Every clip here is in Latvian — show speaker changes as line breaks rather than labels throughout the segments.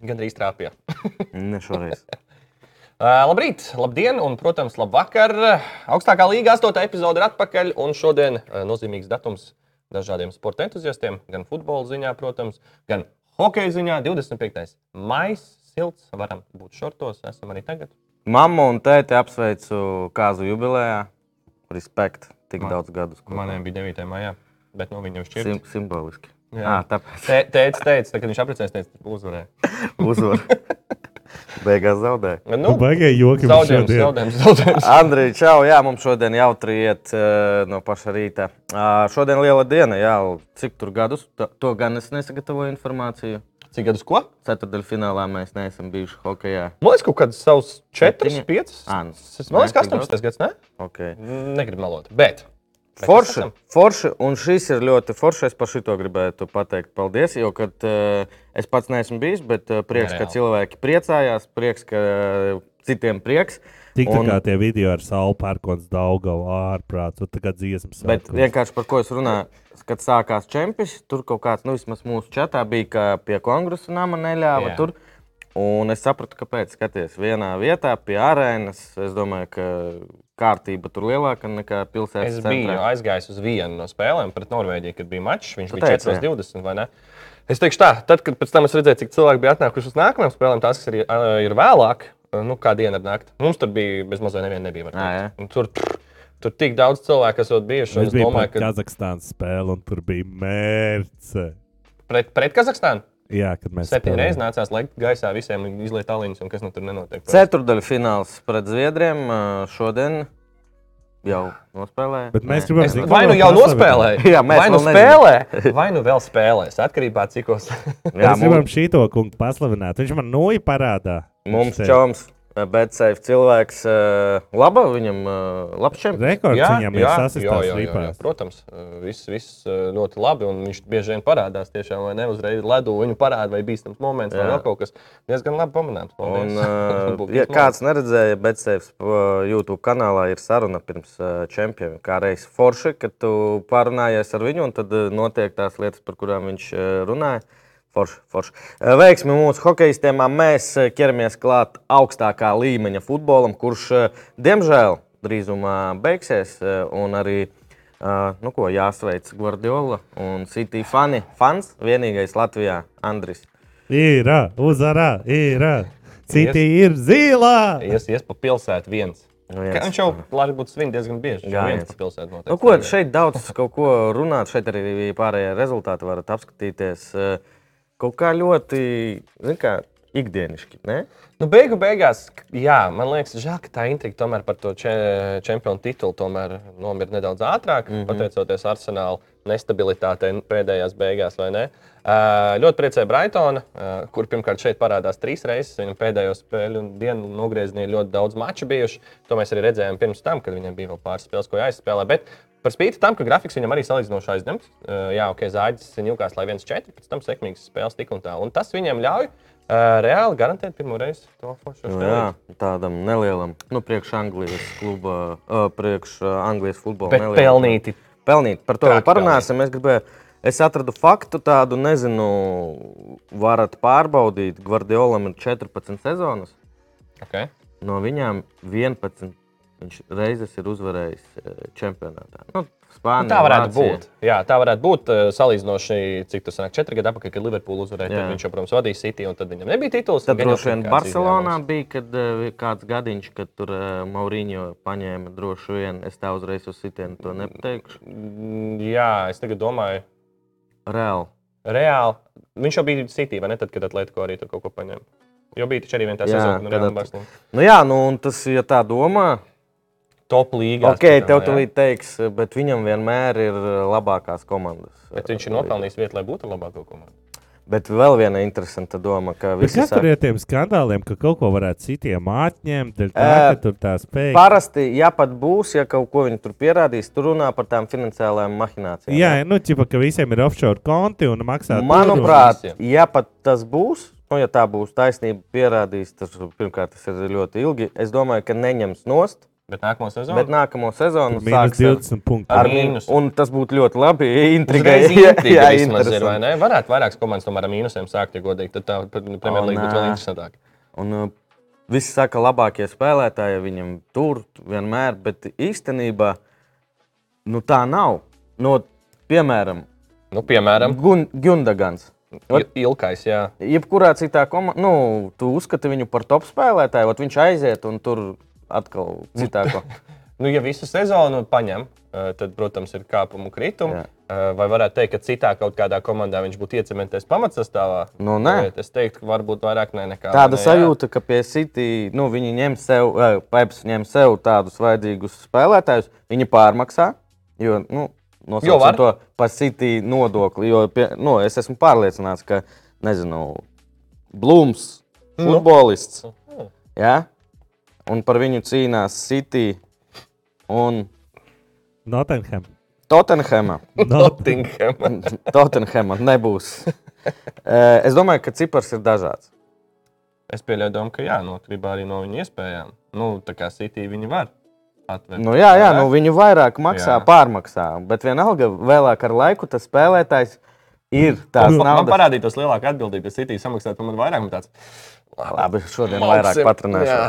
Gan arī strāpja.
Ne šoreiz.
Labrīt, labdien, un, protams, labvakar. Augstākā līnija, 8. epizode ir atpakaļ, un šodien ā, nozīmīgs datums dažādiem sporta entuziastiem, gan futbola ziņā, protams, gan hokeja ziņā. 25. maija, silts, varam būt šortos, esam arī tagad.
Mamma un tēti apsveicu kāzu jubilejā. Respekt, tik
Man-
man, daudz gadus. kopā.
Maniem bija 9. maijā, bet no viņiem šķiet.
Sim, simboliski.
Jā.
Jā, à, tāpēc
Tē- Tētis teica, tā, kad viņš apprecēs, teica, uzvarēja.
uzvaru. Beigās zaudēja.
Nu,
Baigāji joki mums
zaudējums,
šodien.
zaudējums, zaudējums.
Andrej, čau, jā, mums šodien jautri iet eh, no paša rīta. Ā, Šodien liela diena, jā, cik tur gadus, to, to gan es nesagatavoju informāciju.
Cik gadus ko?
Ceturdaļfinālā mēs neesam bijuši hokeja.
Man liekas, kaut kāds savs 4,
Septiņi?
5.
Ā, nu,
Man liekas,
nē,
ka
tik daudz.
18. gads, ne?
Okay.
Negribu melot. Bet. bet
Forši,
mēs esam.
forši, un šis ir ļoti forši. Es par šito gribētu pateikt paldies, jo kad, eh, es pats neesmu bijis, bet eh, prieks, ka
Nereāli.
cilvēki priecājās, prieks, ka eh, citiem prieks.
Tik tā
Un-
kā tie video ar salu pērkons Daugavu ārprāts, un tagad dziesmas.
Bet vienkārši par ko es runāju, kad sākās čempions, tur kaut kāds, nu, vismaz mūsu čatā bija, ka pie kongresa nama neļāva
Jā.
Jā. tur. Un es sapratu, kāpēc. Skaties, vienā vietā pie arēnas, es domāju, ka kārtība tur lielāka nekā
Es
pilsētas
biju
centrā.
aizgājis uz vienu no spēlēm pret Norvēģiju, kad bija mačs. Viņš
Tu
bija
teici,
4,20 vai ne? Es teikšu tā, tad, kad pēc tam es redzēju, cik cilvēki bija atnākuši uz nākamajām spēlēm, tās, kas ir, ā, ir vēlāk, nu, kā diena ar naktī. Mums tur bija bezmaz neviena nebija. var
Ā,
teikt.
jā.
Un Tur, tur tik daudz cilvēku, kas ir bijuši. un
Nu, Es
Es
biju pie
domāju, ka
Kazahstānas spēle, un tur bija mērce.
pret, pret Kazahstānu
Jā, kad mēs
septiņas
spēlējām.
reizes nācās laikt gaisā visiem un izliet aliņus, un kas nu tur nenotiek.
Ceturdaļfināls pret Zviedriem eh, šodien jau nospēlēja.
Bet
Nē.
mēs gribam
Es,
zināt,
vai nu
ko
jau
mēs paslavējam.
nospēlēju,
Jā, mēs
vai nu
vēl
spēlē,
nezinām.
vai nu vēl spēlēs. Atkarībā no cikos.
Jā,
Mēs gribam šito kungu paslavināt. Viņš man noja parādā.
Mums
Viņš te-
čoms, bet seif cilvēks, eh, laba viņam, eh, labs čempions.
Rekords viņam ir sasistās ripās.
protams, uh, viss, viss uh, ļoti labi. Un viņš bieži vien parādās tiešām, vai ne uzreiz ledū viņu parāda, vai bīstams moments, vai
Jā.
vēl kaut kas diezgan labi pamanāms.
Un,
Paldies.
uh,
Būtu
ja
labi.
kāds neredzēja, bet sevis YouTube kanālā ir saruna pirms uh, čempioniem. Kā reizes forši, kad tu pārunājies ar viņu, un tad uh, notiek tās lietas, par kurām viņš uh, runāja. Forši, forši. Uh, Veiksmi mūsu hokeistiem, mēs uh, ķeramies klāt augstākā līmeņa futbolam, kurš uh, diemžēl drīzumā beigsies. uh, un arī, uh, Nu, ko jāsveic Guardiola un City fani. Fans vienīgais Latvijā, Andris.
Ir, uzvarā, ir. Citi ir zilā.
Ies, ies pa pilsētu viens.
Nu,
Ka
jā,
Viņš jau, lai būtu svin diezgan bieži, jau
Jā,
viens
jā.
pa pilsētu noteikti.
Nu, ko, šeit daudz kaut ko runāt, šeit arī pārējie rezultāti varat apskatīties. eh, Kaut kā ļoti, zin kā, ikdienišķi, ne?
Nu, beigu beigās, k- jā, man liekas, žēl, ka tā intriga tomēr par to če čempionu titulu tomēr nomira nedaudz ātrāk,
Mhm.
mm -hmm. pateicoties arsenāla nestabilitātei nu, pēdējās beigās, vai ne? Uh, ļoti priecēja Braitona, uh, kur pirmkārt šeit parādās trīs reizes. Viņam pēdējo spēļu dienu nogriezienī ļoti daudz maču bijuši. To mēs arī redzējām pirms tam, kad viņam bija vēl pāris spēles, ko jāizspēlē. Bet par spīti tam, ka grafiks viņam arī salīdzinoši aizņemts. Uh, jā, ok, zāģis ņūkās, lai 1-4, pēc tam sekmīgas spēles tik un tā. Un tas viņam ļauj Uh, reāli garantēt pirmo reizi to foršu
Nu,
spēlētāju.
jā, tādam nelielam, nu, priekš Anglijas kluba, eh, priekš eh, Anglijas futbola.
Bet
nelielam-
pelnīti.
Pelnīt, par to
Traki
vēl parunāsim. Es, gribēju, es atradu faktu tādu, nezinu, varat pārbaudīt. Guardiolam ir 14 sezonas.
Okay.
No viņām 11 viņš reizes ir uzvarējis eh, čempionātā. Nu, Spānija,
Nu, tā varētu
Vācija.
būt. Jā, tā varētu būt. eh, Salīdzinoši, cik tas nāk, četri gadi atpakaļ, kad Liverpools uzvarēja.
Jā.
tad Viņš jau, protams, vadīja City, un tad viņam nebija tituls.
Tad
gan jau
droši vien
kāds
Barcelonā
izņēmums.
bija kad, eh, kāds gadiņš, kad tur Mauriņo paņēma droši vien. Es tā uzreiz uz sitienu to nepateikšu.
Mm, Jā, es tagad domāju,
Reāli.
reāli. Viņš jau bija City, vai ne? Tad, kad Atlētico arī tur kaut ko paņēma. Jo bija taču arī viena tā
Jā,
sezona, kad
kad
Real
at-
Barcelona.
Nu jā, nu un tas, ja tā domā,
Top līnija.
ok, tev tūlīt teiks, bet viņam vienmēr ir eh, labākās komandas.
Bet viņš ir nopelnījis vietu, lai būtu labākā komanda.
Bet vēl viena interesanta doma, ka
Bet
visi
Kas tur
saka,
ir tiem skandāliem, ka kaut ko varētu citiem atņemt?
Ē,
dēļ Tā, ka tur tā spēja.
Parasti, ja pat būs, ja kaut ko viņi tur pierādīs, tur runā par tām finansiālajām mahinācijām.
Jā, nu, ķipa, ka visiem ir offshore konti un maksā. tur,
Manuprāt,
visiem.
ja pat tas būs, nu, ja tā būs taisnība, pierādīs, tas pirmkārt tas ir ļoti ilgi. Es domāju, ka neņems nost
Bet nākamo sezonu
Bet nākamo sezonu
Mīnus
sāks ar,
20 punktus.
ar
ar
mīnusu.
Un tas būtu ļoti labi. Intrigai
Uzreiz intriga
jā,
vismaz ir, vai
interesanti.
ne? Varētu vairākas komandas tomēr ar mīnusiem sākt, ja godīgi. Tad tā Premjerlīga būtu vēl
nē.
interesantāk.
Un, uh, Visi saka, labākie spēlētāji viņam tur vienmēr, bet īstenībā nu, tā nav. No, piemēram,
Nu, piemēram,
Gun Gundagans. Ot-
Il- Ilkais, jā.
Jebkurā citā komandā, nu, tu uzskati viņu par top spēlētāju, tad viņš aiziet un tur atkal citā ko.
Nu, ja visu sezonu paņem, eh, tad, protams, ir kāpumu kritumi.
Jā.
Eh, Vai varētu teikt, ka citā kaut kādā komandā viņš būtu iecementējis pamatsastāvā?
Nu, nē.
Bet Es teiktu, ka varbūt vairāk ne nekā.
Tāda
ne, jā.
sajūta, ka pie City nu, viņi ņem sev, eh, Peps ņem sev tādus vajadzīgus spēlētājus, viņi pārmaksā. Jo, nu,
Jo var.
Nosaucam to par City nodokli. Jo, pie, nu, es esmu pārliecināts, ka, nezinu, Blūms,
Nu.
futbolists,
Mm.
ja? un par viņu cīnās City un
Nottingham.
Tottenhama.
Nottingham.
Tottenhamam nebūs. Eh, es domāju, ka cipars ir dažāds.
Es pieļauju domu, ka jā, no gribā arī no viņa iespējām. Nu, tā kā City viņi var atvērt.
Nu, jā, jā nu, viņu vairāk
Jā.
maksā, jā. pārmaksā. Bet vienalga, vēlāk ar laiku tas spēlētājs ir tāds
Nu, Man, man
naudas.
parādītos lielāka atbildība, ja City samaksātu par mani vairāk. un Tāds,
Labi, šodien vairāk
Malcim, jā.
patrunāšu.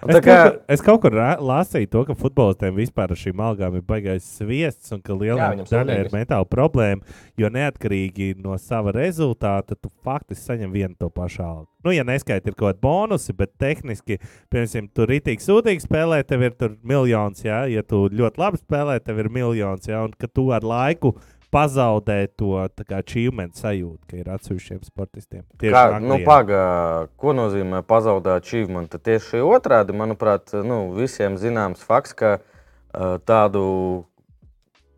Es,
Tā
kā...
kā-
es kaut kur rā- lasīju to, ka futbolistiem vispār ar šīm algām ir baigais sviests un ka lielā
Jā, viņam
daļa ir
sūdzīgas.
mentāla problēma, jo neatkarīgi no sava rezultāta tu faktiski saņem vienu to pašu algu. Nu, ja neskaita ir kaut kādi bonusi, bet tehniski, piemēram, tur rītīgi sūdīgi spēlē, tev ir tur miljons, jā, ja tu ļoti labi spēlē, tev ir miljons, jā, un ka tu ar laiku pazaudē to tā kā achievement sajūtu, ka ir atsevišķiem sportistiem. Tieši
Kā,
Anglijā.
nu, paga, ko nozīmē pazaudēt achievement? Tieši otrādi, manuprāt, nu, visiem zināms fakts, ka eh, tādu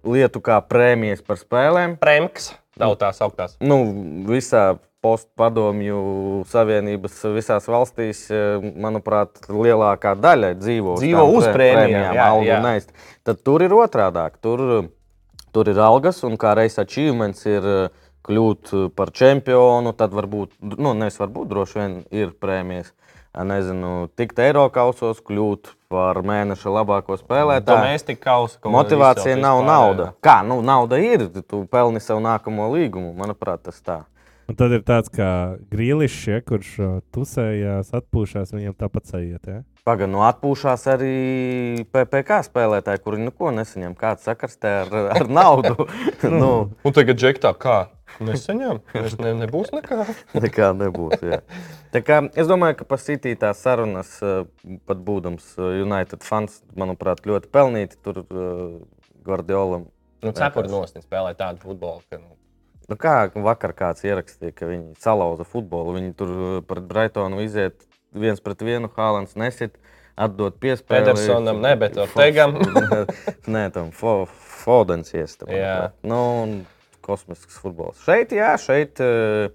lietu kā prēmijas par spēlēm
Premks, daudzās augtās.
nu, visā postpadomju savienības visās valstīs, eh, manuprāt, lielākā daļa dzīvo,
Dzīvo
tām
uz
prē-
prēmijām, jā,
algu
jā.
neaizt. Tad tur ir otrādāk. Tur, tur ir algas un kā reizes achievements ir eh, kļūt eh, par čempionu, tad varbūt, nu, nevis varbūt, droši vien ir prēmijas. Eh, Nezinu, tikt Eiropausos, kļūt par mēneša labāko spēlētāju.
Domēstika kausa. kaut kā
Motivācija
visu,
nav
vispār,
nauda.
jā.
Kā, nu, nauda ir, tu pelni savu nākamo līgumu. Manuprāt, tas tā.
Un tad ir tāds kā grīlišs, ja, kurš uh, tusējās, atpūšās, viņam tāpat sajiet. Ja?
Pagaidām, nu atpūšās arī PPC spēlētāji, kuri neko nesaņem. Kāds sakarstē ar, ar naudu? nu,
Un tagad džektā kā? Nesaņem, es ne, nebūs nekā.
nekā nebūs. Jā. Tā kā, es domāju, ka pasītī tās sarunas, eh, pat būdams eh, United fans, manuprāt, ļoti pelnīti tur eh, Guardiolam.
Nu, cepuri nosniedz spēlēt tādu futbolu, ka nu,
Nu kā vakar kāds ierakstīja, ka viņi salauza futbolu. Viņi tur eh, pret Brightonu iziet viens pret vienu, Hālands nesit, atdot piespēli.
Pedersonam, ne, bet Ortegam.
Nē, tam Fo- Fodens iestam.
Jā.
Nu, un kosmisks futbols. Šeit, jā, šeit eh,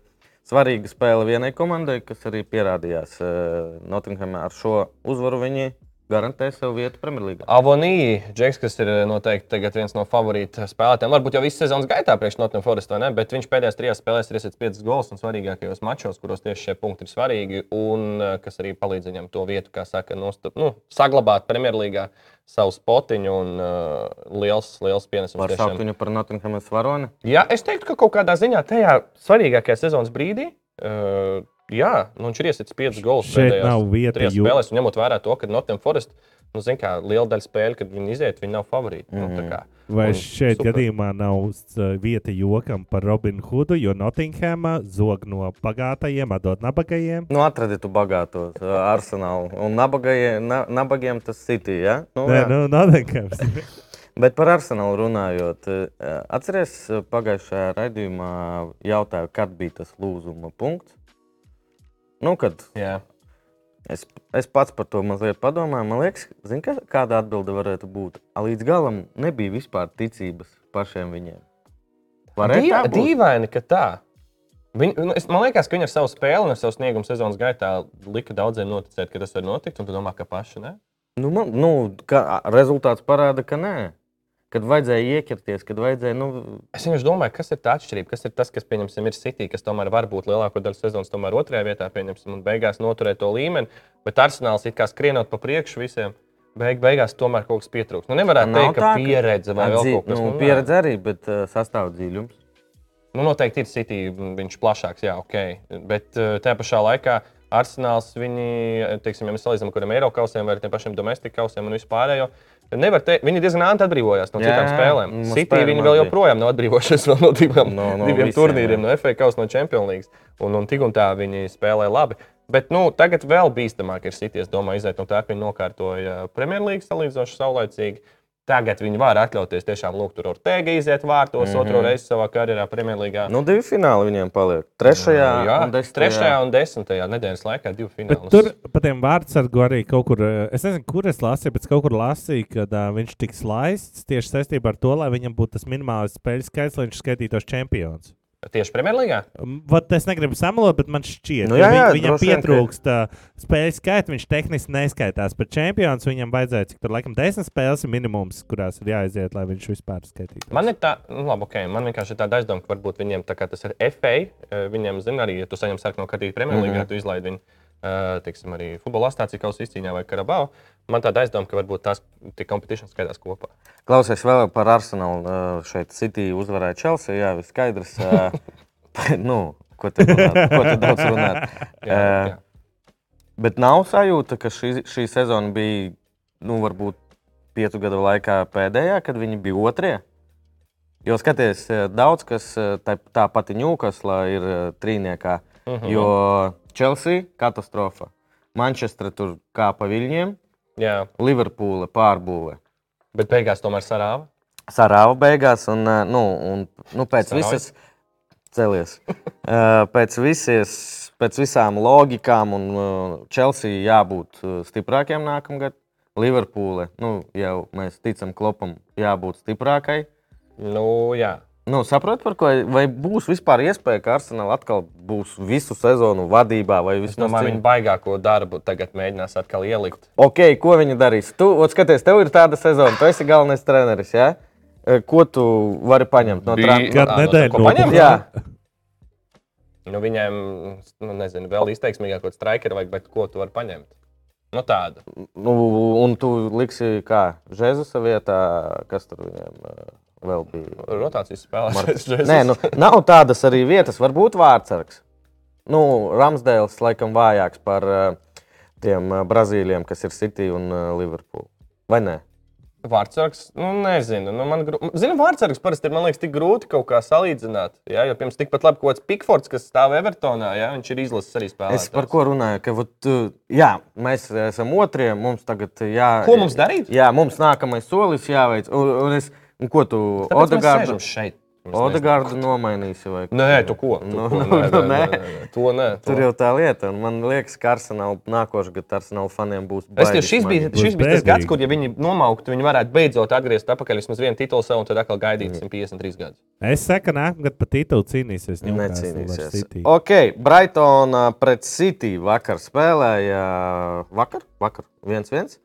svarīga spēle vienai komandai, kas arī pierādījās eh, Nottinghamā. Ar šo uzvaru viņi garantē sev vietu Premjerlīgā.
Avonija, Džeks, kas ir eh, noteikti tagad viens no favorīta spēlētājiem, varbūt jau visu sezonas gaitā priekš Nottingham Forest, vai ne? Bet viņš pēdējās trijās spēlēs ir iesiets piecas gols un svarīgākajos mačos, kuros tieši šie punkti ir svarīgi un eh, kas arī palīdz viņam to vietu, kā saka, nostab, nu, saglabāt Premjerlīgā savu spotiņu un uh, liels, liels pienesums.
Var
tiešām.
saukt viņu par Nottinghamas varoni.
Jā, es teiktu, ka kaut kādā ziņā tajā svarīgākajā sezonas brīdī. Uh, jā, nu viņš ir iesitis piecus golus.
Šeit
pēdējās
nav vieta
trijās
jū-
Spēlēs, un ņemot vērā to, ka Nottingham Forest, nu, zin kā, liela daļa spēļu, kad viņi iziet, viņi nav favorīti. Mm -hmm. nu, tā kā.
Vai
Un
šeit
super.
super. gadījumā nav s- vieta jokam par Robinu Hoodu, jo Nottinghamā zog no bagātajiem, atdod nabagajiem?
Nu, atradi tu bagātos uh, arsenālu. Un nabagajie- na, nabagiem tas City. Ja? Nu,
Nē,
jā.
nu, Nottinghams.
Bet par arsenālu runājot, uh, atceries uh, pagājušajā raidījumā jautāju, kad bija tas lūzuma punkts. Nu, kad
Jā.
es, es pats par to mazliet padomāju, man liekas, zin, ka, kāda atbilde varētu būt. A, Līdz galam nebija vispār ticības pašiem viņiem. Varētu tā
Dīva,
būt.
dīvaini, ka tā. Viņ, nu, es, man liekas, ka viņi ar savu spēli un ar savu sniegumu sezonas gaitā lika daudziem noticēt, ka tas var notikt. Un tu domā, ka paši ne?
Nu, man, nu, kā, rezultāts parāda, ka nē. Kad vajadzēja iekirties, kad vajadzēja. Nu,
Es vienkārši domāju, kas ir tā atšķirība, kas ir tas, kas, pieņemsim, ir City, kas tomēr var būt lielāko daļu sezonas, tomēr otrajā vietā, pieņemsim, un beigās noturēt to līmeni. Bet Arsenāls ir kā skrienot pa priekšu visiem. beig, beigās tomēr kaut kas pietrūks. Nu, nevarētu
Nav
teikt, ka
tā, ka
pieredze vai vēl
Atzī-
kaut kas
nu,
nu,
pieredze arī, bet uh, sastāvdaļums.
Nu, noteikti ir City, m, viņš ir plašāks, jā, ok. Bet eh, tajā pašā laikā Arsenāls, viņi, eh, teiksim, ja mēs salīdzinām, kuriem ir Eiropas kausiem vai ar tiem pašiem domestika kausiem un vispārējo. Nevar teikt, viņi diezgan ātri atbrīvojās no
Jā,
citām
jā,
spēlēm.
no
City
spēlēm
viņi vēl
atbrīvo-
joprojām nav atbrīvojušies vēl no divām, no,
No- no
no diviem
visiem,
visiem, turnīriem,
jā.
jā. no FA kausa, no Champions League. Un, un tik un tā viņi spēlē labi. Bet nu, tagad vēl bīstamāk ir City. Es domāju, iziet no tā, ka viņi nokārtoja Premjerlīgas salīdzinoši saulēcīgi. Tagad viņi var atļauties tiešām lūgt tur Ortega iziet vārtos mm -hmm. otro reizi savā karjerā Premjerlīgā.
Mhm. Nu, divi fināli viņiem paliek. Trešajā,
Nu, jā,
un desmitajā.
trešajā un desmitajā nedēļas laikā divi
Bet
fināli.
tur par tiem vārdsargu arī kaut kur, eh, es nezinu, kur es lasīju, bet es kaut kur lasīju, ka uh, viņš tiks laists tieši saistībā ar to, lai viņam būtu tas minimālais spēļu skaits, lai viņš skaitītos čempions.
Tieši Premjerlīgā?
M, Um, Vat es negribu samalot, bet man šķiet,
Nu,
ka
jā,
vi-
jā,
viņam
droši vien, ka-
pietrūkst uh, spēļu skaita. Viņš tehniski neskaitās par čempionu. Viņam vajadzēja, cik tur laikam, desmit spēles ir minimums, kurās ir jāaiziet, lai viņš vispār skaitītu.
Man ir tā, nu, labi, ok, man vienkārši ir tāda aizdoma, ka varbūt viņiem tā kā tas ir FA. eh, Viņiem, zina, arī, ja tu saņem sarkanu kartīti Premjerlīgā, mm -hmm. tu izlaidi viņu, eh, teiksim, arī futbola astācija kausa izcīņā vai Karabau. Man tāda aizdoma, ka varbūt tās tie kompetīcijas skaitās kopā.
Klausies vēl par Arsenalu. uh, Šeit City uzvarēja Chelsea. Jā, viss skaidrs. uh, nu, ko te runāt? Ko te daudz runāt?
Jā, uh,
Uh,
jā.
Bet nav sajūta, ka šī, šī sezona bija, nu, varbūt piecu gadu laikā pēdējā, kad viņi bija otrie. Jo skaties, eh, daudz kas eh, tā, tā pati ņūkasla ir eh, trīniekā.
Uh -huh. jo...
Jo Chelsea katastrofa. Manchestra tur kā pa viļņiem,
jā,
Liverpūle pārbūve.
bet beigās tomēr sarāva.
Sarāva beigās, un, eh, nu, un nu, pēc
Sarauj.
visas celies. Eh, pēc, visies, pēc visām logikām, un eh, Chelsea jābūt eh, stiprākiem nākamgad. Liverpūle, nu, jau mēs ticam, klopam, jābūt stiprākai.
Nu, jā.
Nu, saprotu, par ko vai būs vispār iespēja, ka Arsenal atkal būs visu sezonu vadībā vai
Es
vismaz
domāju, viņi baigāko darbu tagad mēģinās atkal ielikt.
Ok, ko viņi darīs? Tu, ot, skaties, tev ir tāda sezona, tu esi galvenais treneris. Ja? E, Ko tu vari paņemt no
Bija-
Trumpa?
Gadu
Ah, no
nedēļu
tā, ko paņem?
Jā,
Nu, viņiem, nu, nezinu, vēl izteiksmīgāk, ko strāķi vajag, bet ko tu vari paņemt? Nu, tādu.
nu, un tu liksi kā Jēzusa vietā, kas tur viņam e, vēl bija.
Rotācijas spēlētājs.
Mar- Nē, nu, nav tādas arī vietas, varbūt vārdsargs. Nu, Ramsdēls laikam vājāks par e, tiem e, Brazīļiem, kas ir City un e, Liverpool. Vai ne?
Vārtsargs, nu, nezinu. Nu, man grūti. Zinu, vārtsargs parasti ir, man liekas, tik grūti kaut kā salīdzināt. Jā, jo pirms tikpat labi kaut kāds Pikfords, kas stāv Evertonā, jā, viņš ir izlases arī spēlētājs.
Es par ko runāju? Ka, vat, uh, jā, mēs esam otrie. Mums tagad uh, jā,
Ko mums darīt?
Jā, mums nākamais solis jāveic. Un, un, es, un ko tu
Tāpēc mēs
Odegardu,
sēžam šeit. Mēs
Odegardu nomainīsi? Vai,
nezinu. Nē, tu ko? Tu
Nu,
ko?
nu,
Nē,
nu,
nē,
nē.
nē, nē. To nē. to
Tur jau tā lieta. un Man liekas, ka Arsenal nākošais gads Arsenal faniem būs.
Es domāju,
baigi
šis bija,
smagi.
šis
Būs
bija tas
bēdīgi.
gads, kur, ja viņi nomauktu, viņi varētu beidzot atgriezties atpakaļ vismaz vienu titulu sev un tad atkal gaidīt
Mm.
153 gadus.
Es saku, ka nākamgad pat titulu cīnīsies. Newcastle ar
Necīnīsies.
City.
Ok, Brightona pret City vakar spēlēja. uh, Vakar, vakar 1-1.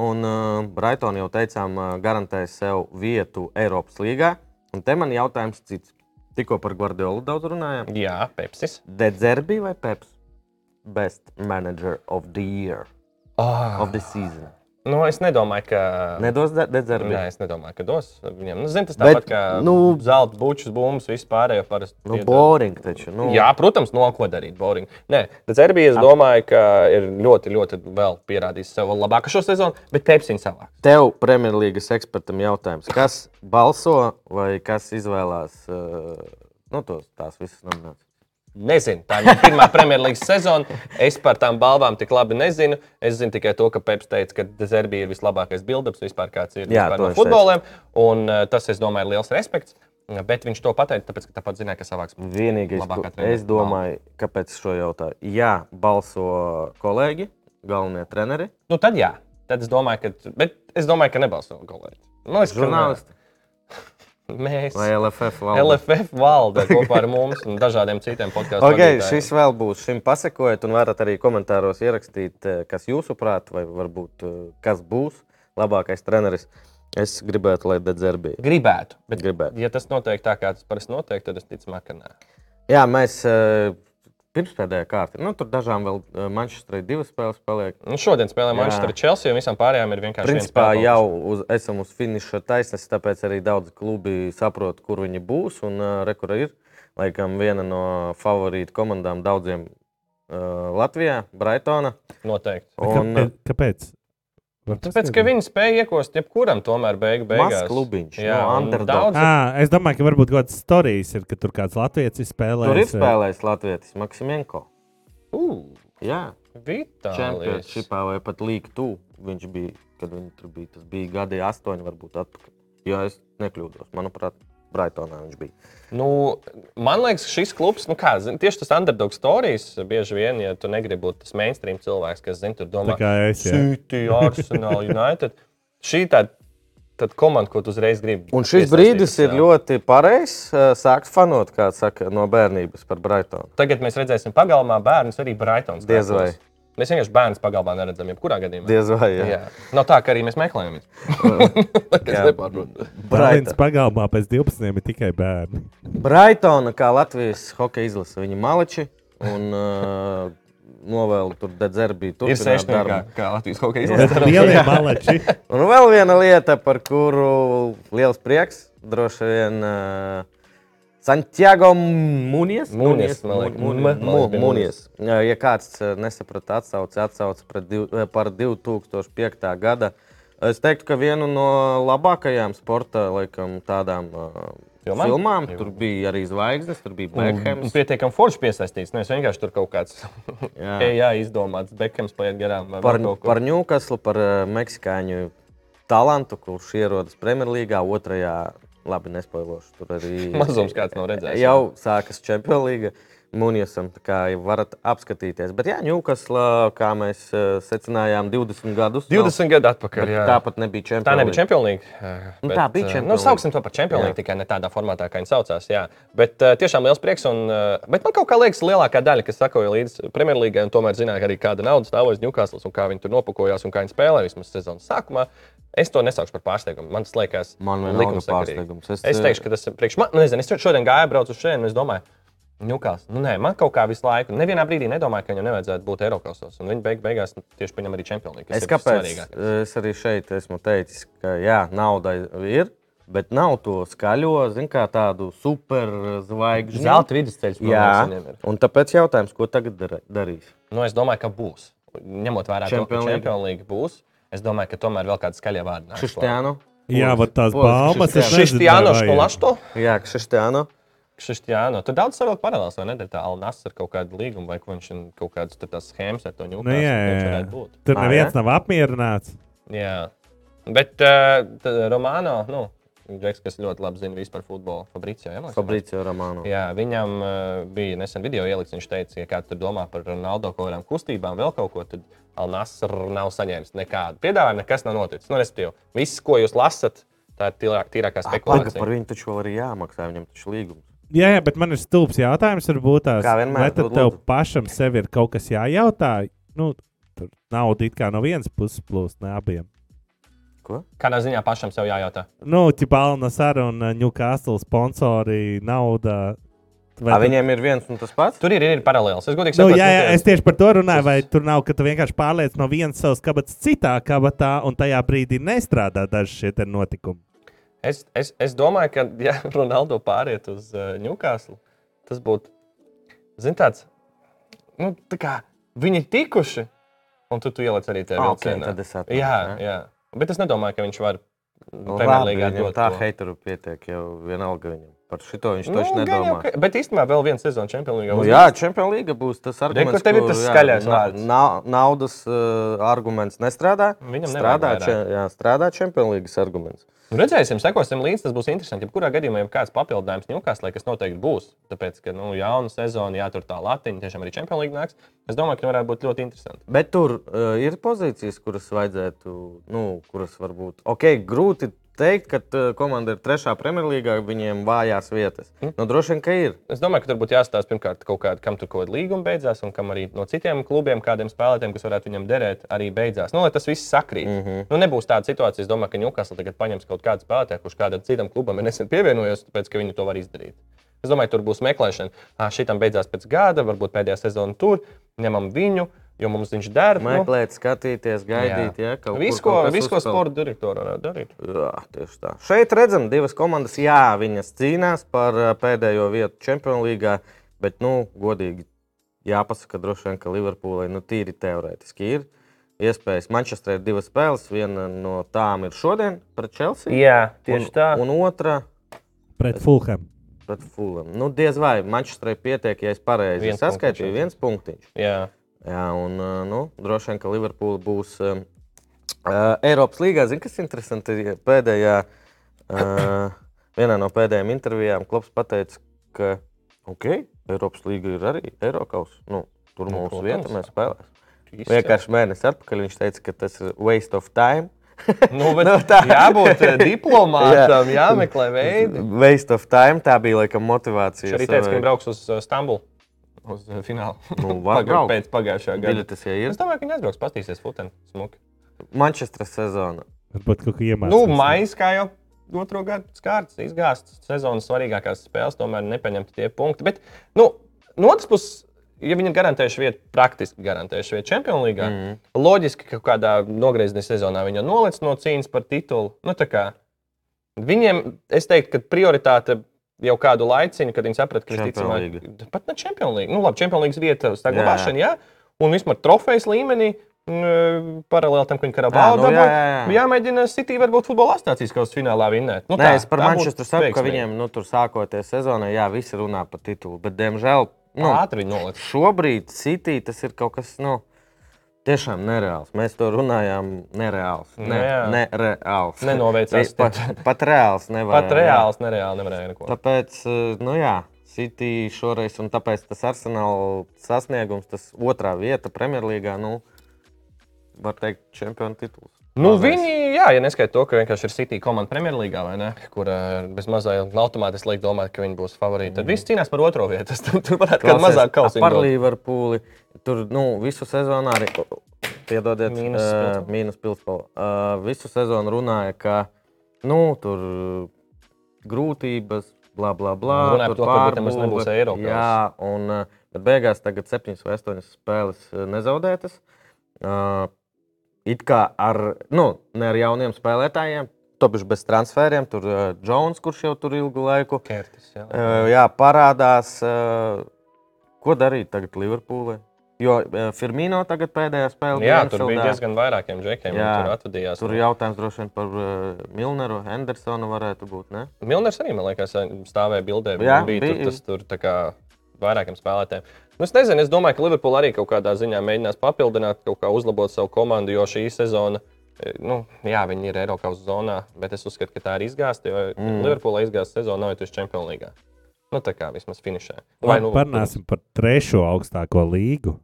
Un uh, Brightona jau teicām, uh, garantēja sev vietu Eiropas līgā. Un te man jautājums cits. Tikko par Guardiolu daudz runājām.
Jā, Pepsis.
Dedzerbi vai Peps? Best manager of the year,
Oh.
of the season.
Nu, es nedomāju, ka.
Ah.
Nedos de- Dedzerbi.
Nē, es nedomāju, ka dos viņam. Nu, zini, tas
Bet,
tāpat kā nu,
nu-
zelta bučus, bumbas, vispār jau parasti.
Nu,
iedod.
boring taču. Nu,
Jā, protams, no ko darīt. Boring. Nē, tad Serbija, es domāju, ka ir ļoti, ļoti vēl pierādījis sev labāko šo sezonu, bet Pepsiņa savā.
Tev, Premjerlīgas ekspertam, jautājums, kas balso vai kas izvēlās uh, nu, tos, tās visas nominācijas?
Nezinu, tā ir mana pirmā Premjerlīgas sezona. Es par tām balvām tik labi nezinu. Es zinu tikai to, ka Peps teica, ka Zerbija ir vislabākais bildeps vispār, kāds ir
Jā,
vispār
to
no
viņš
futboliem. Un, eh, tas, es domāju, ir liels respekts. Bet viņš to pateica, tāpēc, ka tāpat zināja, ka savāks.
Vienīgais,
Labākā
ko
trenera
es domāju, kāpēc es šo jautāju, jā, balso kolēģi, galvenie treneri,
Nu, tad jā, tad es domāju, ka. Bet es domāju, ka nebalso Golēta. Man liekas, ka
žurnālisti
Mēs.
vai LFF valde.
LFF valda kopā ar mums un dažādiem citiem podkāstiem.
Ok, šis vēl būs. Šim pasekojiet, un varat arī komentāros ierakstīt, eh, kas jūsuprāt, vai varbūt eh, kas būs labākais treneris. Es gribētu, lai Dedzerbi
Gribētu, bet,
gribētu.
ja tas notiek tā, kā tas parasti notiek, tad es ticamāk, ka nē.
Jā, mēs eh, Pirmspēdējā kārta. Nu, tur dažām vēl eh, Manchesterai divas spēles paliek.
Nu, šodien spēlē
Jā.
Manchester Chelsea, un visām pārējām ir vienkārši viens
Principā
spēlētājs.
jau uz, esam uz finīša taisnes, tāpēc arī daudz klubi saprot, kur viņi būs. Un uh, rekur ir laikam viena no favorītu komandām daudziem uh, Latvijā, Braitona.
Noteikti.
Un
Kāpēc? kāpēc? Var
Tāpēc, ka
paskaidrot?
viņi spēja iekost jebkuram, tomēr beigu, beigās.
mazs klubiņš,
Jā,
jā, no
un
underdog.
daudz.
Ā, es domāju, ka varbūt kaut kādas stāstījis ir, ka tur kāds latviečs spēlē.
Tur ir spēlējis Latvijas Maksimenko.
Ugh,
Jā,
Vitālijas.
čempionātā vai pat Līga 2. Viņš bija, kad viņi tur bija, tas bija gadi astoņi, varbūt atpakaļ. Jā, es nekļūdos, manuprāt, Braitonā viņš bija.
Nu, man liekas, šis klubs, nu kā, zin, tieši tas underdog stāstījis, bieži vien, ja tu negribi būt tas mainstream cilvēks, kas zina, tur domā,
Tā kā es, jā.
City, Arsenal, United. Šī tā tad komanda, ko tu uzreiz gribi.
Un šis
piesaistīt
brīdis ir
sev.
ļoti pareizs. eh, Sākt fanot, kā saka, no bērnības par Braitonu.
Tagad mēs redzēsim, pagalmā bērnus arī Brightons.
Diez vai.
skatos. Mēs vienkārši bērnus pagalmā neredzam, jebkurā gadījumā.
Diez vai jā.
Jā. Nav tā, ka arī mēs meklējam.
Jā.
Tas nepārprot.
Braitons
Braita-
pagalmā pēc 12 ir tikai bērni.
Braitona, kā Latvijas hokeja izlase, viņa maliči. Un, uh, Novēlu tur dedzerbi, tur
Ir sešniekā, kā Latvijas hokeja izlasē.
Lielie maleči.
Un vēl viena lieta, par kuru liels prieks. Droši vien uh, Santiago Munies.
Munies, man liekas.
Munies,
Man liekas,
Mu-
bija
Munies. Jā, Ja kāds eh, nesaprata, atsauce, atsauce pret div- eh, par 2005. gada. Es teiktu, ka vienu no labākajām sporta laikam, tādām uh,
Filmām?
filmām. filmām. Tur bija arī zvaigznes, tur bija Bekhams.
Pietiekami forši piesaistīts. Nevis vienkārši tur kaut kāds
Jā.
jā, izdomāts, Bekhams paiet garām. vai
Ah. par,
vēl kaut ko.
par Ņūkaslu, par eh, meksikāņu talantu, kurš ierodas Premjerlīgā, otrajā, labi, nespoilošu. Tur arī
Mazums kāds nav redzējis.
Jau sākas Čempionlīga. Munjasam, tā kā jau varat apskatīties. Bet, jā, Ņūkasla, kā mēs eh, secinājām, 20 gadus.
20 gadu atpakaļ.
gadu.
jā.
Tāpat nebija čempions.
Tā nebija čempionīga.
Nu, tā bija Champions
Nu,
League.
sauksim to par čempionu,
Jā.
tikai ne tādā formātā, kā viņi saucās. Jā. Bet eh, tiešām liels prieks. Un, eh, bet man kaut kā liekas, lielākā daļa, kas sakoja līdz Premjerlīgai, un tomēr zināja arī, kāda nauda stāvēs Newcastle un kā viņi tur nopakojās un kā viņi spēlēja vismaz sezonas sākumā. Es to nesaukšu par pārsteigumu. Man tas liekas,
Man vienalga
likumsakarīgi.
pārsteigums.
Es,
Es,
es
eh,
teikšu, ka tas ir priekš man. nu, Nezinu, es šodien gāju, braucu uz šejienu, un es domāju, Ņukās, nu nē, man kaut kā visu laiku, nevienā brīdī nedomāju, ka viņam nevajadzētu būt Eiropasos. Un viņi beig, beigās nu, tieši pieņem arī čempionu.
Es, kāpēc, eh, es arī šeit esmu teicis, ka jā, nauda ir, bet nav to skaļo, zin, kā tādu superzvaigžņu.
Zelta vidusceļš,
Jā,
protams, ir.
un tāpēc jautājums, ko tagad dar- darīs?
Nu, es domāju, ka būs. Ņemot vērā, to, ka
Champions League.
Champions League būs, es domāju, ka tomēr vēl kāda skaļa vārda nāks.
Kristiānu.
Jā, vat tās
Pols,
baumas.
Kristiānu.
es nezinu,
Kristiāno
vai-
Školašto,
Jā, Kristiānu.
Kristiāno. Tur daudz savukārt paralēlās, vai ne? Ir Tā Alnas ar kaut kādu līgumu, vai ko viņš ir- kaut kādas tur tās schēmas ar to ņūku.
Nu, jā, jā, jā. Tur
Ā,
neviens
jā?
nav apmierināts.
jā. Bet uh, Romano, nu, Džeks, kas ļoti labi zina visu par futbolu, Fabricio. Jā, man liekas,
Fabricio Romano.
Jā, viņam uh, bija nesen video ielicis. Viņš teica, ja kāds tur domā par Ronaldo kaut kādām kustībām, vēl kaut ko, tad Alnāns nav saņēmis nekādu piedāvājumu, nekas nav noticis. Nu, respektīvi, viss, ko jūs lasat, tā ir tīrāk, tīrākā
Pagaidām, Ah, par
spekulācija.
viņu taču vēl arī jāmaksā, viņam taču līgums.
Jā, jā, bet man ir stulbs jautājums, varbūt tās.
Kā vienmēr,
vai tad
lūdzu.
tev pašam sev ir kaut kas jājautā? Nu, tur nauda it kā no vienas puses plūst, ne abiem.
Ko?
Kādā ziņā pašam sev jājautā?
Nu, Čipālna Sara un Ņūkāstla sponsori, nauda. Vai
A,
tad-
viņiem ir viens un tas pats?
Tur ir, ir paralēlis. Es godīgi
Nu,
saprotu,
jā, jā,
nu, tie-
es tieši par to runāju, vai tur nav, ka tu vienkārši pārliec no vienas savas kabatas citā kabatā, un tajā brīdī nestrādā daži šie te notikumi.
es, es, es domāju, ka, ja Ronaldo pāriet uz uh, Newcastle, tas būtu, zin, tāds, nu, tā kā viņi ir tikuši, un tu, tu ieliec arī tajā
Ah, ok,
vilcienā.
tad es saprotu,
jā,
jā.
jā, bet es nedomāju, ka viņš var.
Labi,
Premjerlīgā
viņam
dot
tā
to.
heiteru pietiek, jau vienalga viņam. Par šito viņš
Nu,
taču
gan jau,
nedomā.
ka- Bet īstenībā vēl viens sezons čempionāts.
Nu, jā, Champions League būs tas arguments,
kur tev ir tas
jā,
skaļais
na-
vārds?
na- Naudas uh, arguments nestrādā.
Viņam nevajag
strādā,
vairāk.
če, jā, strādā Champions League arguments.
Nu, redzēsim, sekosim līdzi. Tas būs interesanti. Jebkurā gadījumā, ja kāds papildinājums Ņūkāslē, kas noteikti būs, tāpēc, ka nu, jauna sezona, jā, tur tā latiņa, tiešām arī čempionāts nāks. Es domāju, ka varētu būt ļoti interesanti.
Bet tur uh, ir pozīcijas, kuras vajadzētu, nu, kuras varbūt. Ok, grūti teikt, ka uh, komanda ir trešā Premjerlīgā, viņiem vājās vietas. Mm. Nu, droši vien, ka ir.
Es domāju, ka tur būtu jāstāsta pirmkārt kaut kāda, kam tur kaut kāda līguma beidzās, un kam arī no citiem klubiem, kādiem spēlētājiem, kas varētu viņam derēt, arī beidzās. Nu, lai tas viss sakrīt. Mm -hmm. nu, nebūs tāda situācija, es domāju, ka Ņūkāslē tagad paņems kaut kādu spēlētāju, kurš kādam citam klubam ir nesen pievienojies, tāpēc, ka viņi to var izdarīt. Es domāju, tur būs meklēšana. Šī tam beidzās pēc gada, varbūt pēdējā sezona tur. Ņemam viņu, jo mums viņš der. Nu,
Meklēt, skatīties, gaidīt, ja kaut
visu,
kur
ko,
kaut kas
visu, ko
uzpeld.
sporta direktori varētu darīt.
Jā, tieši tā. Šeit redzam, divas komandas, jā, viņas cīnās par ā, pēdējo vietu Champions League, bet, nu, godīgi jāpasaka, droši vien, ka Liverpoolai nu, tīri teorētiski ir iespējas. Manchesterā ir divas spēles, viena no tām ir šodien pret Chelsea.
Jā,
un, Un otra
pret Fulham.
pret Fulham. Nu, diez vai Manchesterai pietiek, ja es pareizi
Viens
saskaitīju,
punktiņš.
viens punktiņš.
Jā.
Jā, un ā, nu, droši vien, ka Liverpoola būs um, ā, Eiropas līnijā. Zini, kas ir interesanti? Pēdējā, uh, vienā no pēdējām intervijām Klops teica, ka okay, Eiropas līnija ir arī Eiropas. Nu, tur
Nu,
mums ir
protams.
vieta, mēs spēlēsim.
Izcili.
Vienkārši mēnesi atpakaļ viņš teica, ka tas ir waste of time.
Nu, bet,
Nu,
nu,
tā.
jābūt eh, diplomātam, jāmeklē veidi.
Waste of time tā bija laikam motivācija.
Viņš arī teica, ka viņš brauks uz eh, Stambulu. Uz eh, finālu.
Nu, var
Paga-
braukt.
pēc pagājušā gada.
Biļetes, ja ir.
Es domāju, ka viņi aizbrauks, paskatīsies futbolu. Smuki.
Manchesteras sezona.
Varbūt kaut kā iemācījās.
Nu, maijs kā jau otro gadu skārts, izgāzts sezonas svarīgākās spēles, tomēr nepaņemti tie punkti. Bet, nu, no otras puses, ja viņi ir garantējuši vietu, praktiski garantējuši vietu Champions League, mm
Mhm.
-hmm. loģiski, ka kādā nogriezienā sezonā viņi jau noliec no cīņas par titulu. Nu, tā kā viņiem, es teiktu, ka prioritāte. Jau kādu laiku, kad viņi saprata, ka
Champions
visticamāk, pat ne Champions League. Nu, labi, Champions League vieta
Jā,
saglabāšana, jā. Un vismaz trofejas līmenī, mm, paralēli tam, ka viņi karabālu
nu, jā,
dabūja.
jā, jā.
Jāmēģina City varbūt futbola astācijas kaut kādā finālā vinnēt. Nu,
Nē, es par
būtu
Manchesteru saku, ka
veiksmīgi.
viņiem nu, tur sākoties sezonai, jā, visi runā par titulu. Bet, diemžēl, nu,
ātri noliec.
šobrīd City tas ir kaut kas nu, tiešām nereāls. Mēs to runājām, nereāls. Ne,
Nu, jā.
nereāls.
Nenoveicās.
Pat, pat reāls nevar.
Pat reāls, nereāli nevarēja neko.
Tāpēc, eh, nu jā. City šoreiz, un tāpēc tas arsenāla sasniegums, tas otrā vieta Premjerlīgā, nu, var teikt, čempionu tituls.
Nu,
Mazais.
viņi, jā, ja neskaita to, ka vienkārši ir City komanda Premjerlīgā, vai ne? Kur eh, bez mazā automātiski liek domāt, ka viņi būs favorīti. Tad viss cīnās par otro vietu. Tas tur tur varētu būt
Mm. Klausies,
mazāk kausīgi.
Par Liverpūli. Tur nu, visu sezonu arī. Piedodiet,
Mīnus
eh,
Pilspala.
mīnus pilspala. Uh, visu sezonu runāja, ka nu, tur grūtības, bla, bla, bla.
Runāja par
tur
to, ka varbūt nemaz
pārbūve.
nebūs Eiropas.
Jā, un eh, bet beigās tagad septiņas vai astoņas spēles eh, nezaudētas. Uh, it kā ar, nu, ne ar jauniem spēlētājiem, topiši bez transferiem. Tur ir uh, Jones, kurš jau tur ilgu laiku
Kērtis, jā.
Eh, jā, parādās, eh, ko darīt tagad Liverpoolē. Jo eh, Firmino tagad pēdējā spēlē
jā, tur bija
Anfieldā.
diezgan vairākiem džekiem,
Jā.
kuriem tur atvadījās.
Tur ir jautājums droši vien par uh, Milneru, Hendersonu varētu būt. Ne?
Milners arī, man liekas, stāvēja bildē.
Jā,
Jā, bija
bija.
tur, tas tur tā kā vairākiem spēlētājiem. Nu, es nezinu, es domāju, ka Liverpoola arī kaut kādā ziņā mēģinās papildināt, kaut kā uzlabot savu komandu, jo šī sezona, e, nu, jā, viņi ir Eiropas zonā, bet es uzskatu, ka tā ir izgāzta, jo mm. Liverpoola izgāzta sezona nav bijusi Champions League. Nu, tā kā vismaz finšē.
Vai nu parunāsim par trešo augstāko līgu?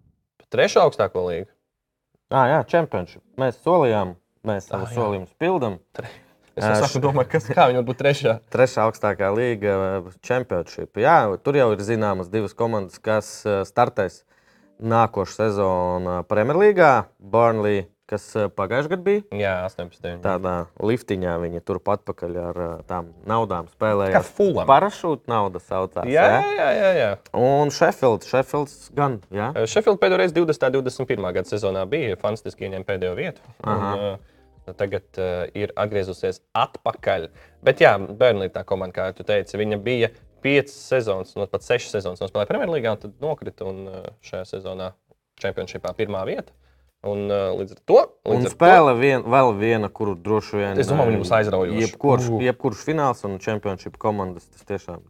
Trešo augstāko līniju.
Ah, jā, čempionšip. Mēs solījām, mēs savu
Ah, jā.
solījumu pildām.
Es
Ā,
jau
š-
sāku domāt, kas kā viņi var būt trešā.
Trešā augstākā līga, čempionšip. Jā, tur jau ir zināmas divas komandas, kas eh, startēs nākošā sezonā Premjerlīgā. Burnley, kas eh, pagājušajā gadā bija.
Jā, 18.
tādā liftiņā viņa tur patpakaļ ar ā, tām naudām
kā
spēlēja.
fulam.
Parašūta nauda saucās.
Jā, jā, jā. jā, jā.
Un Sheffields, Sheffields gan. Jā.
Šeffield pēdējo reizi 20. un 21. gada sezonā bija fantastiski ieņēma pēdējo vietu. Un, uh, tagad uh, ir atgriezusies atpakaļ. Bet, jā, Bernlīna tā komanda, kā tu teici, viņa bija 5 sezonas, no pat 6 sezonas nospēlēja Premjerlīgā, un tad nokrita un uh, šajā sezonā čempionšīpā pirmā vieta. Un uh, līdz ar to
Un
līdz ar
spēle vien, vēl viena, kuru droši vien.
Es domāju,
ā,
viņi būs aizraujoši.
Jebkurš,
Uh.
jebkurš fināls un čempionšīpa komandas tas tiešām.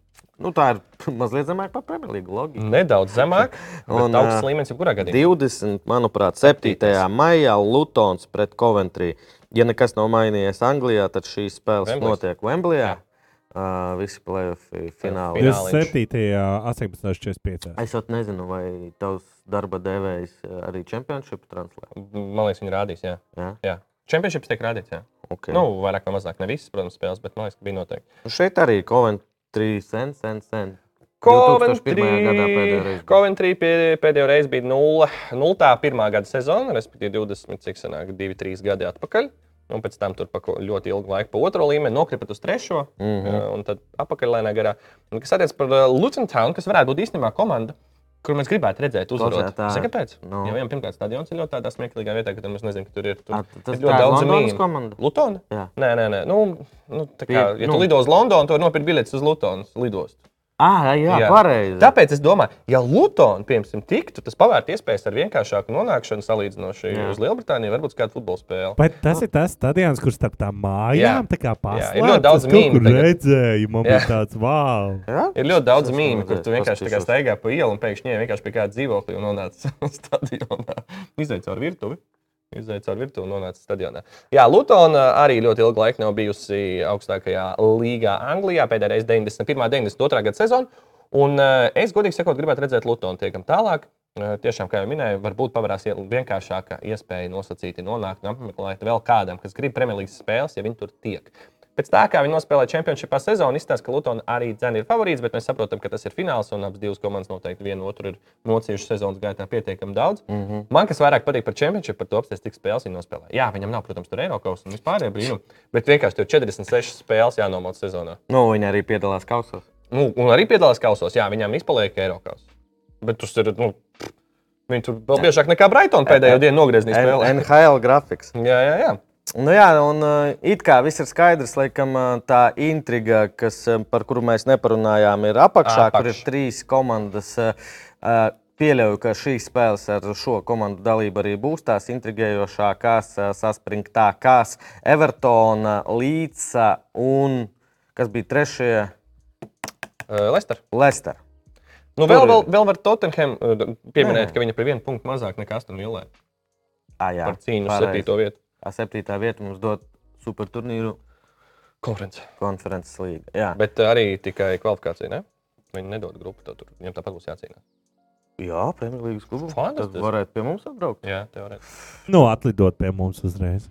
Nu, tā ir mazliet zemāka par Premjerlīgu
to
logiku.
nedaudz zemāk,
Un,
un augsts
ā,
līmenis jebkurā gadījumā.
20, manuprāt, 7. maijā Lutons pret Coventry. Ja nekas nav mainījies Anglijā, tad šīs spēles
Wembley's.
notiek Wemblijā. Uh, visi plēsoņi finālā.
Finālā. Fināliņš.
27. 18. 45.
Es pat nezinu, vai tavs darba devējs eh, arī čempionšību translē.
Man liekas, viņi rādīs. Jā.
Jā,
Jā. Čempionšīps tiek rādīts. Jā.
okay.
Nu, vairāk vai mazāk, ne visas, protams, spēles, bet man liekas, ka bija noteikti.
Nu, šeit arī Coventry sen, sen, sen. 2001. gadā pēdējo
Coventry,
reizi.
Coventry pie- pēdējo reizi bija 0, 0 tā pirmā gada sezona, respektīvi 20, cik senāk, 2, 3 gadi atpakaļ. Un pēc tam tur pa ko- ļoti ilgu laiku pa otro līmeni nokrita uz trešo, mm
Mhm.
-hmm. un tad apakaļlēnā garā. Un, kas attiecas par Lucentānu, kas varētu būt īstenībā komanda, kur mēs gribētu redzēt, uzvarot.
Klausās, tā-
Zini, kāpēc?
Nu.
No. Jo viņam pirmkārt stadions ir ļoti tādā smieklīgā vietā, ka tu nemaz nezini, ka tur ir. Tur
Ā, t- Ah, Tas
ir
ļoti daudz Londonas
mīmu.
komanda.
Lutona?
Jā.
Nē, nē, nē. Nu, nu, tā kā,
Ir,
ja
nu.
tu lido uz Londonu, tad nopirkt biļetes uz Lutonas lidostu.
Ah, jā, jā, pareizi.
Tāpēc es domāju, ja Lutona, piemēram, tiktu, tas pavērtu iespējas ar vienkāršāku nonākšanu salīdzinoši
Jā.
uz Lielbritāniju, varbūt kāda futbola spēle.
Bet tas ir tas stadions, kurš starp tām
Jā.
mājām tā kā
Jā,
paslēpts.
ir ļoti daudz
Es kaut
mīmu
kur
tagad.
redzēju, man bija
Jā.
tāds wow.
Jā?
Ir ļoti daudz
Es
mīmīmu,
esmu
kur tu
redzējis,
vienkārši tā kā
paskatīšos.
staigā pa ielu un pēkšņi ej vienkārši pie kāda dzīvokļa un nonāc stadionā. Izdeidz caur virtuvi. Izdeidz caur virtuvi un nonāc stadionā. Jā, Lutona arī ļoti ilgu laiku nav bijusi augstākajā līgā Anglijā. Pēdējais 91. un 92. gada sezona. Un eh, es godīgi sakot, gribētu redzēt Lutonu tiekam tālāk. Eh, Tiešām, kā jau minēju, varbūt pavarās ie- vienkāršāka iespēja nosacīti nonākt un apmeklēt vēl kādam, kas grib Premjerlīgas spēles, ja viņi tur tiek. Pēc tā, kā viņi nospēlēja čempionāta sezonu, izstāsta, ka Lutona arī dzene ir favorīts, bet mēs saprotam, ka tas ir fināls un abas divas komandas noteikti vienu otru ir mocījušas sezonas gaitā pietiekami daudz. Mm
Mhm.
-hmm. Man kas vairāk patīk par čempionātu, par to apstāties, cik spēles viņi nospēlēja. Jā, viņam nav, protams, tur Eiropas un vispārējā brīnuma, bet vienkārši tev 46 spēles jānomoc sezonā.
Nu, viņi arī piedalās kausos.
Nu, un arī piedalās kausos, jā, viņam izpaliek Eiropas. Bet tas ir. Nu, pff, viņi tur vēl biežāk nekā Brightona pēdējo dienu nogrieznīs spēlē.
N- NHL grafiks.
Jā, jā, jā.
Nu jā, un uh, it kā viss ir skaidrs, laikam uh, tā intriga, kas, uh, par kuru mēs neparunājām, ir
Apakš.
apakšā, Apakš. kur ir trīs komandas. uh, uh, Pieļauju, ka šīs spēles ar šo komandu dalību arī būs tās intrigējošākās, uh, saspringtākās. Evertona, Līca eh, un kas bija trešie?
Uh, Lester.
Lester.
Nu,
Tur
vēl,
ir.
vēl, vēl var Tottenham uh, pieminēt,
Nē.
ka viņa par vienu punktu mazāk nekā Aston Villē
Ah, jā,
par cīņu uz
pareizi.
septīto vietu.
Tā septītā vieta mums dod super turnīru
Konference.
konferences līga. Jā,
Bet uh, arī tikai kvalifikācija. Ne? Viņi nedod grupu, tad tur viņam tāpat būs jācīnās.
jā Premjerlīgas klubam. Tad
Fantastiski.
varētu pie mums atbraukt.
Jā, teorētiski.
Nu, atlidot pie mums uzreiz.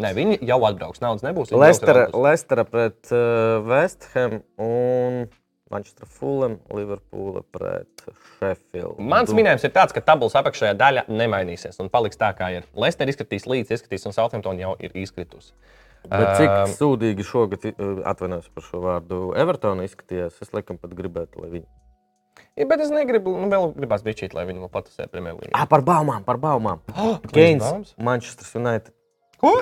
Nē, viņi jau atbrauks. Naudas nebūs. viņi brauks ar
Lestera,
autobusu.
Lestera pret uh, Westham un Manchester Fulham, Liverpoola pret Sheffield.
Mans minējums ir tāds, ka tabulas apakšējā daļa nemainīsies un paliks tā, kā ir. Leicester izkritīs līdzi, izkritīs, un Southampton jau ir izkritusi.
Bet cik
Ām,
sūdīgi šogad, uh, atvainojos par šo vārdu, Evertona izskatījās. Es laikam pat gribētu, lai viņi.
Ja, bet es negribu, nu, vēl gribās bičīt, lai viņi vēl patusē Premjerlīgā.
Ah, par baumām, par baumām.
Baums?
Keins, Manchester United.
Ko?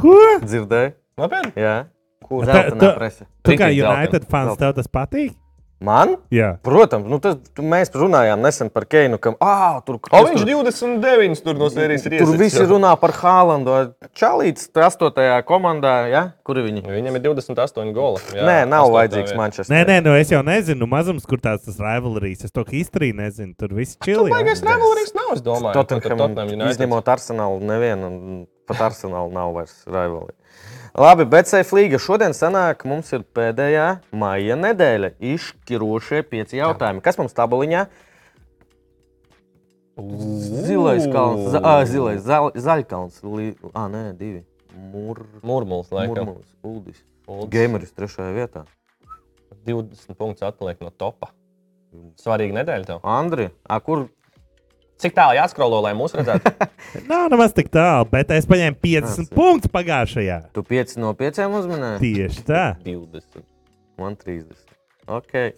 Ko?
Dzirdēji?
Nopietni?
Jā. Kur
Tā-
zeltainā
tā-
prese?
Tu kā
Citīgi
United
zeltaini.
fans,
Zeltaini.
tev tas patīk?
Man?
Jā.
Protams, nu tas, tu- mēs runājām nesen par Keinu, ka ah, tur
O,
kas
viņš
tur-
29 tur no sērijas ir.
Tur
iesitis
visi
jau.
runā par Hālandu. Čalīts, tas 8. komandā, ja? kur ir viņi?
Viņam ir 28 gola. Jā,
Nē, nav
astotā
vajadzīgs
vieta.
Manchester.
Nē, nē, nu es jau nezinu, mazums, kur tās tas rivalrijas. Es to histeriju nezinu, tur viss
Nu,
čili.
Baigais rivalrijas nav, es domāju. ko tur Tottenham
Tottenham,
United.
izņemot Arsenalu, nevienu pat Arsenalu nav vairs rivali. Labi, bet Safe League šodien sanāk, mums ir pēdējā maija nedēļa. Izšķirošie pieci jautājumi. Kas mums tabuliņā? Zilais kalns, za, ā, zilais, za, zaļkalns, li, ā, nē, divi. Mur,
Murmuls, laikam.
murmulis, Uldis.
Uldis.
Gameris trešajā vietā.
20 punktus atpaliek no topa. Svarīga nedēļa tev.
Andri, ā, kur
Cik tālu jāskrolo, lai mūs redzētu?
Nav nemaz tik tālu, bet es paņēmu 50
Nāc.
punktus pagājušajā.
tu pieci no pieciem uzminēji?
Tieši tā.
20.
Man 30. Okay.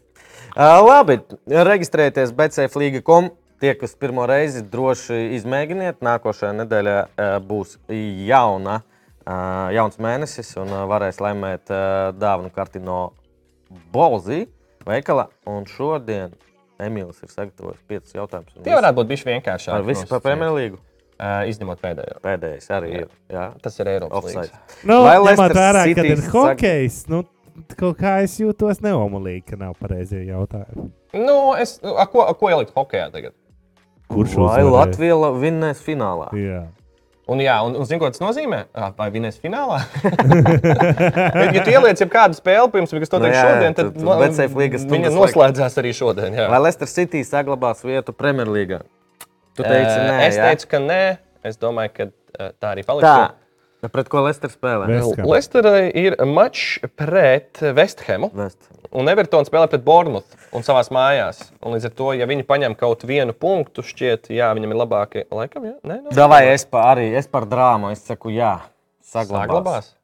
Uh, labi, reģistrējieties BCFLīga.com. Tie, kas pirmo reizi droši izmēģiniet, nākošajā nedēļā uh, būs jauna, uh, jauns mēnesis un uh, varēs laimēt uh, dāvanu karti no Bolzi veikala. Un šodien Emīls ir sagatavojis piecus jautājumus.
Tie varētu būt bijuši vienkāršāki.
Ar visu par
nosacījumi.
Premjerlīgu.
Ā, Izņemot pēdējo.
Pēdējais arī ir. Jā,
Tas ir Eiropas
offside.
līnijas.
Nu,
Vai
ņemot
Leicester
vērā, kad
City
ir
sag-
hokejs, nu, kaut kā es jūtos neomulīgi, ka nav pareizie jautājumi.
Nu, es, nu, a, ko, a, ko ielikt hokeja tagad?
Kurš
Vai
uzvarēja?
Latvija vinnēs finālā?
Jā.
Un, jā, un, un zini, ko tas nozīmē? Ā, Vai vienais finālā? ja, ja tu ieliec jau kādu spēli, pirms tam, kas to
Nu
teiks
jā,
šodien,
tu-
tad
tu
no-
BCF līgas
viņa
stundas
noslēdzās arī šodien. Jā.
Vai Leicester City saglabās vietu Premjerlīgā? Tu teici,
Ā,
nē,
es
jā?
teicu, ka nē. Es domāju, ka ā, tā arī paliks.
Tā, pret ko Leicester spēlē?
Vest- Vesthamu.
Lesterai ir mačs pret Vesthemu,
Vest.
un Evertons spēlē pret Bournemouth un savā mājās. Un līdz ar to, ja viņi paņem kaut vienu punktu, šķiet, jā, viņam ir labāki. Laikam, jā, nē, nu, no.
Davai, es pa, arī es par drāmu, es saku jā. saglabās.
Saglabās.
Es,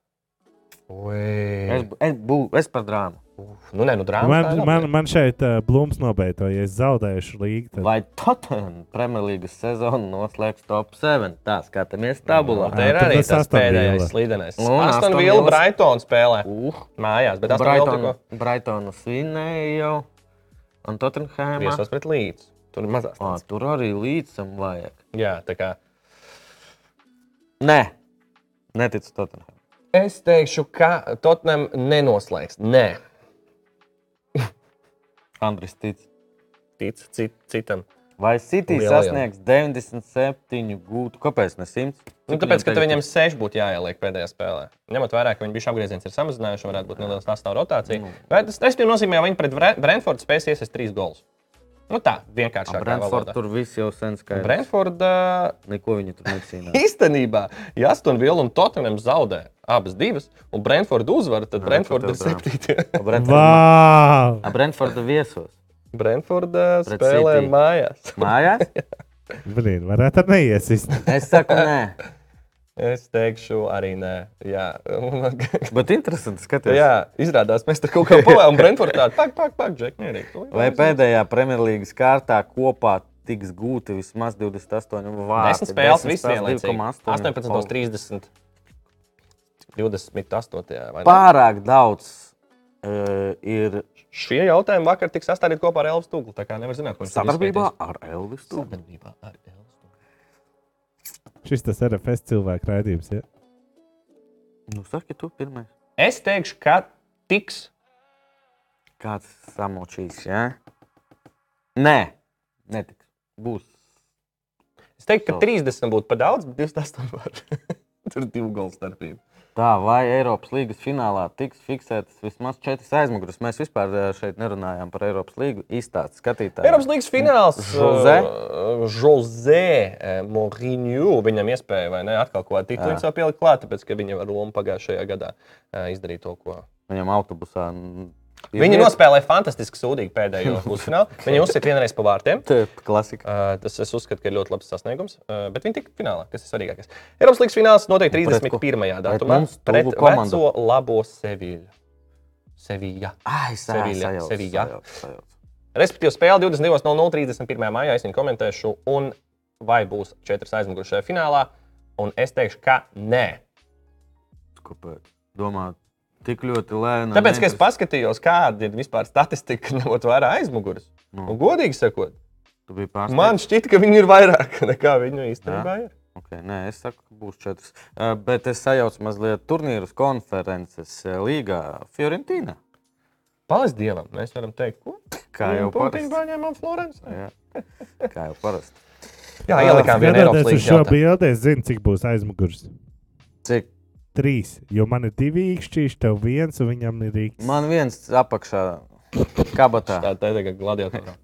Ui.
es, bū, es par drāmu.
Uf, Nu, nē, nu, drāmas. tā ir
Man,
laba
man,
lieta.
man šeit uh, blūms nobeigta, ja es zaudēšu līgu. Tad...
Vai Tottenham Premjerlīgas sezonu noslēgs top 7? Tā skatāmies tabulā.
Un Te ir
Ah, tad
arī
tas
tas
Aston
pēdējais
Villa.
slīdenais.
Nu, Un Aston
Aston Villa
Villas-
Brighton spēlē
Uh,
mājās, bet Aston Villa
Brighton,
tikko
Brightonu svinēja jau. Un Tottenhamā.
viesos pret Līdzi. Tur ir mazās.
Ā,
lietas.
Tur arī līdzam vajag.
Jā, tā kā.
Nē, neticu Tottenham.
Es teikšu, ka Tottenham nenoslēgs. Nē,
Andris tic.
tic cit, citam.
Vai City
Lielajam.
sasniegs 97 gūtu? Kāpēc ne 100?
Nu, tāpēc, ka tev viņam seši būtu jāieliek pēdējā spēlē. Ņemot vērā, ka viņi bija apgrieziens ir samazinājuši, varētu būt neliela sastāvdaļa rotācija.
Nu.
Mm. Bet tas tas nozīmē, ka viņi pret Bre- Brentfordu spēs iesaistīt trīs golus. Nu tā, vienkāršāk.
Brentford tur viss jau sen skaidrs.
Brentforda
Neko viņi tur necīnās.
īstenībā, ja Aston Villa un Tottenham zaudē abas divas, un Brentforda uzvar, tad
Nē,
Brentforda
tad
ir
tev drāma.
septītā.
Brentforda
Vau!
Brentforda viesos.
Brentforda
Pret
spēlē
City.
mājās.
Mājās?
Blin, varētu arī neiesist.
Es saku, nē.
Es teikšu, arī nē. Jā,
Bet interesanti skatīties.
jā izrādās, mēs tur kaut kā pavēlam Brentfordā. Tak, tak, tak, Džek, mierīgi.
Vai pēdējā Premjerlīgas kārtā kopā tiks gūti vismaz 28 vārdi?
10 spēles
10
visiem vienlaicīgi.
2,8.
18.30. 28. vai ne?
Pārāk daudz uh, ir
Šie jautājumi vakar tiks sastādīti kopā ar Elvis Tūklu. Tā kā nevar zināt, ko viņš tur
sadarbībā
izpētīs.
ar Elvisu.
Sadarbībā ar Elvis Tūklu.
Šis tas RFS cilvēku raidījums. Ja?
Nu, saki, tu pirmais.
Es teikšu, ka tiks.
Kāds samočīs, jā? Nē, netiks. Būs.
Es teiktu,
Savu.
ka 30 būtu par daudz, bet 28 var. Tur ir divu golu starpība.
Tā vai Eiropas līnijas finālā tiks fiksētas vismaz četras aizmugures. Mēs vispār eh, šeit nerunājām par Eiropas līniju. Izstāsts skatītājiem.
Eiropas līnijas fināls.
Žoze?
uh, Žoze eh, Mourinho. Viņam iespēja vai ne atkal kaut ko tādu
Jā.
tituliņu pielikt klāt, tāpēc ka viņa ar Romu pagājušajā gadā eh, izdarīja to, ko.
Viņam autobusā. mm, ir
Viņa
vieta.
nospēlēja fantastiski sūdīgi pēdējo pusfinālu. Viņa uzsita vienreiz pa vārtiem.
Tā ir klasika.
Uh, tas es uzskatu, ka ir ļoti labs sasniegums. Uh, bet viņi tika finālā, kas ir svarīgākais. Eiropas līnijas fināls notiek
Un pret ko?
31.
Pret
datumā.
mums tuvu
Pret
komandu.
veco labo Sevīļu. Sevilla.
Ai,
Sevilla,
sajauc,
Sevilla.
sajauc, sajauc.
Respektīvi, spēle 22.00, 31. maijā. Es viņu komentēšu, un vai būs četras aizmugures šajā finālā. Un es teikšu, ka nē.
Kāpēc? Domā, tik ļoti lēni.
Tāpēc, ka es paskatījos, kāda ir vispār statistika, ņemot vērā aizmugures. Un,
Nu,
godīgi sakot,
tu biji pārsteigts.
man šķiet, ka viņi ir vairāk nekā viņu īstenībā ir.
Okay, nē, es saku, ka būs četras. Uh, bet es sajaucu mazliet turnīrus konferences eh, līgā Fiorentīna.
Paldies Dievam, mēs varam teikt, ko? Nu,
Kā jau
Punktiņu
parasti.
paņēmām Florencē.
Jā, kā jau parasti.
Jā, ielikām vienā Eiropas
Skatoties uz šo
līnijā.
bildi, es zinu, cik būs aizmugurs.
Cik
Trīs, jo man ir divi īkšķīši, tev viens un viņam ir rīks.
man viens apakšā kabatā.
Tā tā ir tagad gladiatora.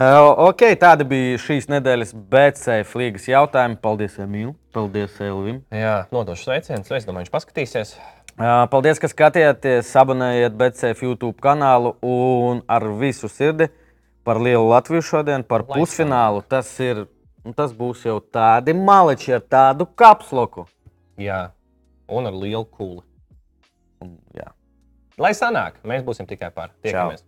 Uh, ok, tādi bija šīs nedēļas BCF līgas jautājumi. Paldies, Emīl. Paldies, Elvim.
Jā, nodošu sveicienus. Es domāju, viņš paskatīsies.
Uh, Paldies, ka skatījāties, abonējiet BCF YouTube kanālu un ar visu sirdi par lielu Latviju šodien, par
Lai
pusfinālu. Tas, ir, nu, tas būs jau tādi maliči ar tādu kapsloku.
Jā, un ar lielu kūli.
Un, jā.
Lai sanāk, mēs būsim tikai par. Tiekamies!